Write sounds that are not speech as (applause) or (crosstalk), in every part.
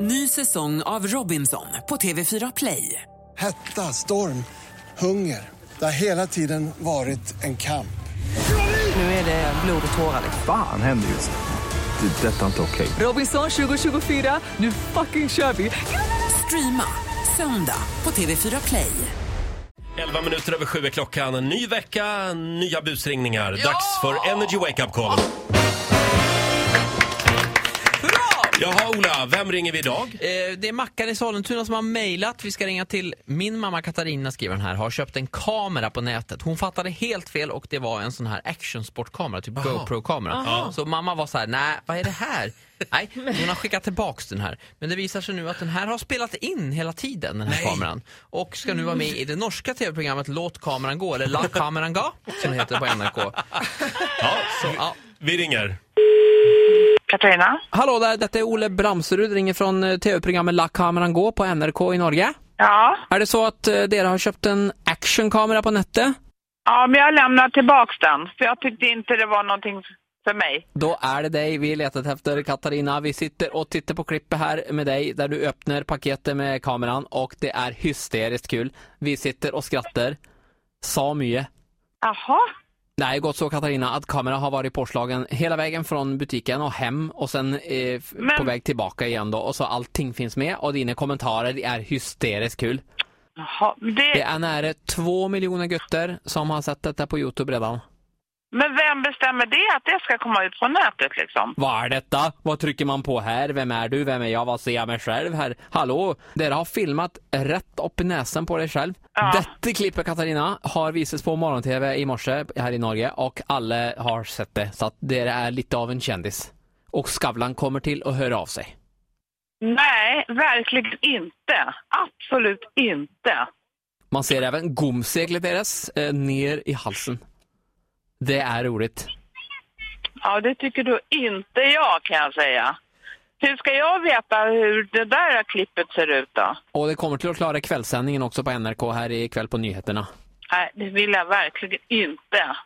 Ny säsong av Robinson på TV4 Play. Hetta, storm, hunger. Det har hela tiden varit en kamp. Nu är det blod och tårar. Fan händer just nu. Det. är Detta är inte okej. Robinson 2024, nu fucking kör vi! Streama söndag på TV4 Play. 11 minuter över sju är klockan. En Ny vecka, nya busringningar. Dags för Energy Wake Up Call. Jaha Ola, vem ringer vi idag? Eh, Det är Mackan i Sollentuna som har mejlat. Vi ska ringa till min mamma Katarina skriver den här. Har köpt en kamera på nätet. Hon fattade helt fel och det var en sån här actionsportkamera, typ GoPro-kamera. Så mamma var så här, nej vad är det (laughs) här? Nej, hon har skickat tillbaks den här. Men det visar sig nu att den här har spelat in hela tiden, den här kameran. Och ska nu vara med i det norska tv-programmet Låt kameran gå, eller (laughs) La kameran gå, som det heter på NRK. Ja, Så, ja. vi ringer. Katarina? Hallå där, detta är Ole Bramserud, ringer från eh, tv-programmet La kameran gå på NRK i Norge. Ja. Är det så att eh, dere har köpt en actionkamera på nätet? ja, men jag lämnar tillbaks den, för jag tyckte inte det var någonting för mig. Då är det dig vi letat efter, Katarina. Vi sitter och tittar på klippet här med dig där du öppnar paketet med kameran och det är hysteriskt kul. Vi sitter och skrattar. Så mycket. Jaha, Det är gått så Katarina att kameran har varit påslagen hela vägen från butiken och hem och sen eh, f- Men- på väg tillbaka igen då och så allting finns med och dina kommentarer är hysteriskt kul. Jaha. Men Det Det, är nära två miljoner götter som har sett detta på Youtube redan. men vem bestämmer det, att det ska komma ut på nätet liksom? Vad är detta? Vad trycker man på här? Vem är du? Vem är jag? Vad ser jag mig själv här? Hallå? Dere har filmat rätt upp i näsan på dig själv. Ja. Detta klippet, Katarina, har visats på morgon-tv i morse här i Norge och alla har sett det. Så att dere är lite av en kändis. Och Skavlan kommer till att höra av sig. Nej, verkligen inte. Absolut inte. Man ser även gomseglet deras eh, ner i halsen. Det är roligt. Ja, det tycker du inte jag kan jag säga. Hur ska jag veta hur det där klippet ser ut då? Och det kommer till att klara kvällssändningen också på NRK här ikväll på nyheterna. Nej, det vill jag verkligen inte.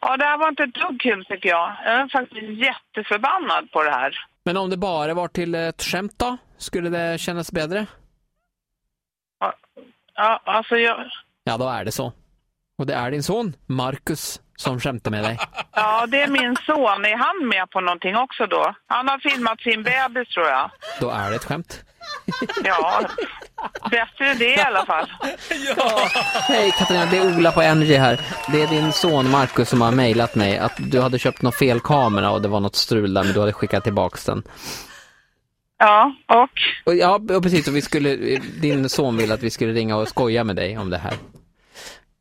Ja, det här var inte ett dugg kul tycker jag. Jag är faktiskt jätteförbannad på det här. Men om det bara var till ett skämt då? Skulle det kännas bättre? Ja, ja, alltså jag... Ja, då är det så. Och det är din son, Marcus, som skämtar med dig. Ja, det är min son. Är han med på någonting också då? Han har filmat sin bebis tror jag. Då är det ett skämt. Ja, bättre det i alla fall. Hej Katarina, det är Ola på Energy här. Det är din son Marcus som har mejlat mig att du hade köpt någon fel kamera och det var något strul där men du hade skickat tillbaks den. Ja, och? Och, ja, och precis. Och vi skulle, din son ville att vi skulle ringa och skoja med dig om det här.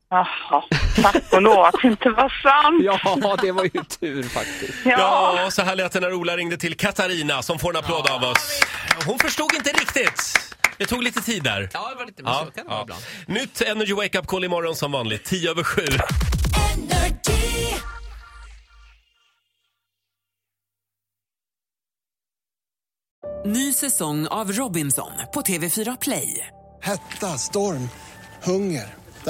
Jaha, tack och lov att det inte var sant. Ja, det var ju tur faktiskt. Ja, Ja, så här lät det när Ola ringde till Katarina som får en applåd av oss. Hon förstod inte riktigt. Det tog lite tid där. Ja, det var lite, men så kan det vara ibland. Nytt Energy Wake Up Call imorgon som vanligt, 10 över 7. Ny säsong av Robinson på TV4 Play. Hetta, storm, hunger. Det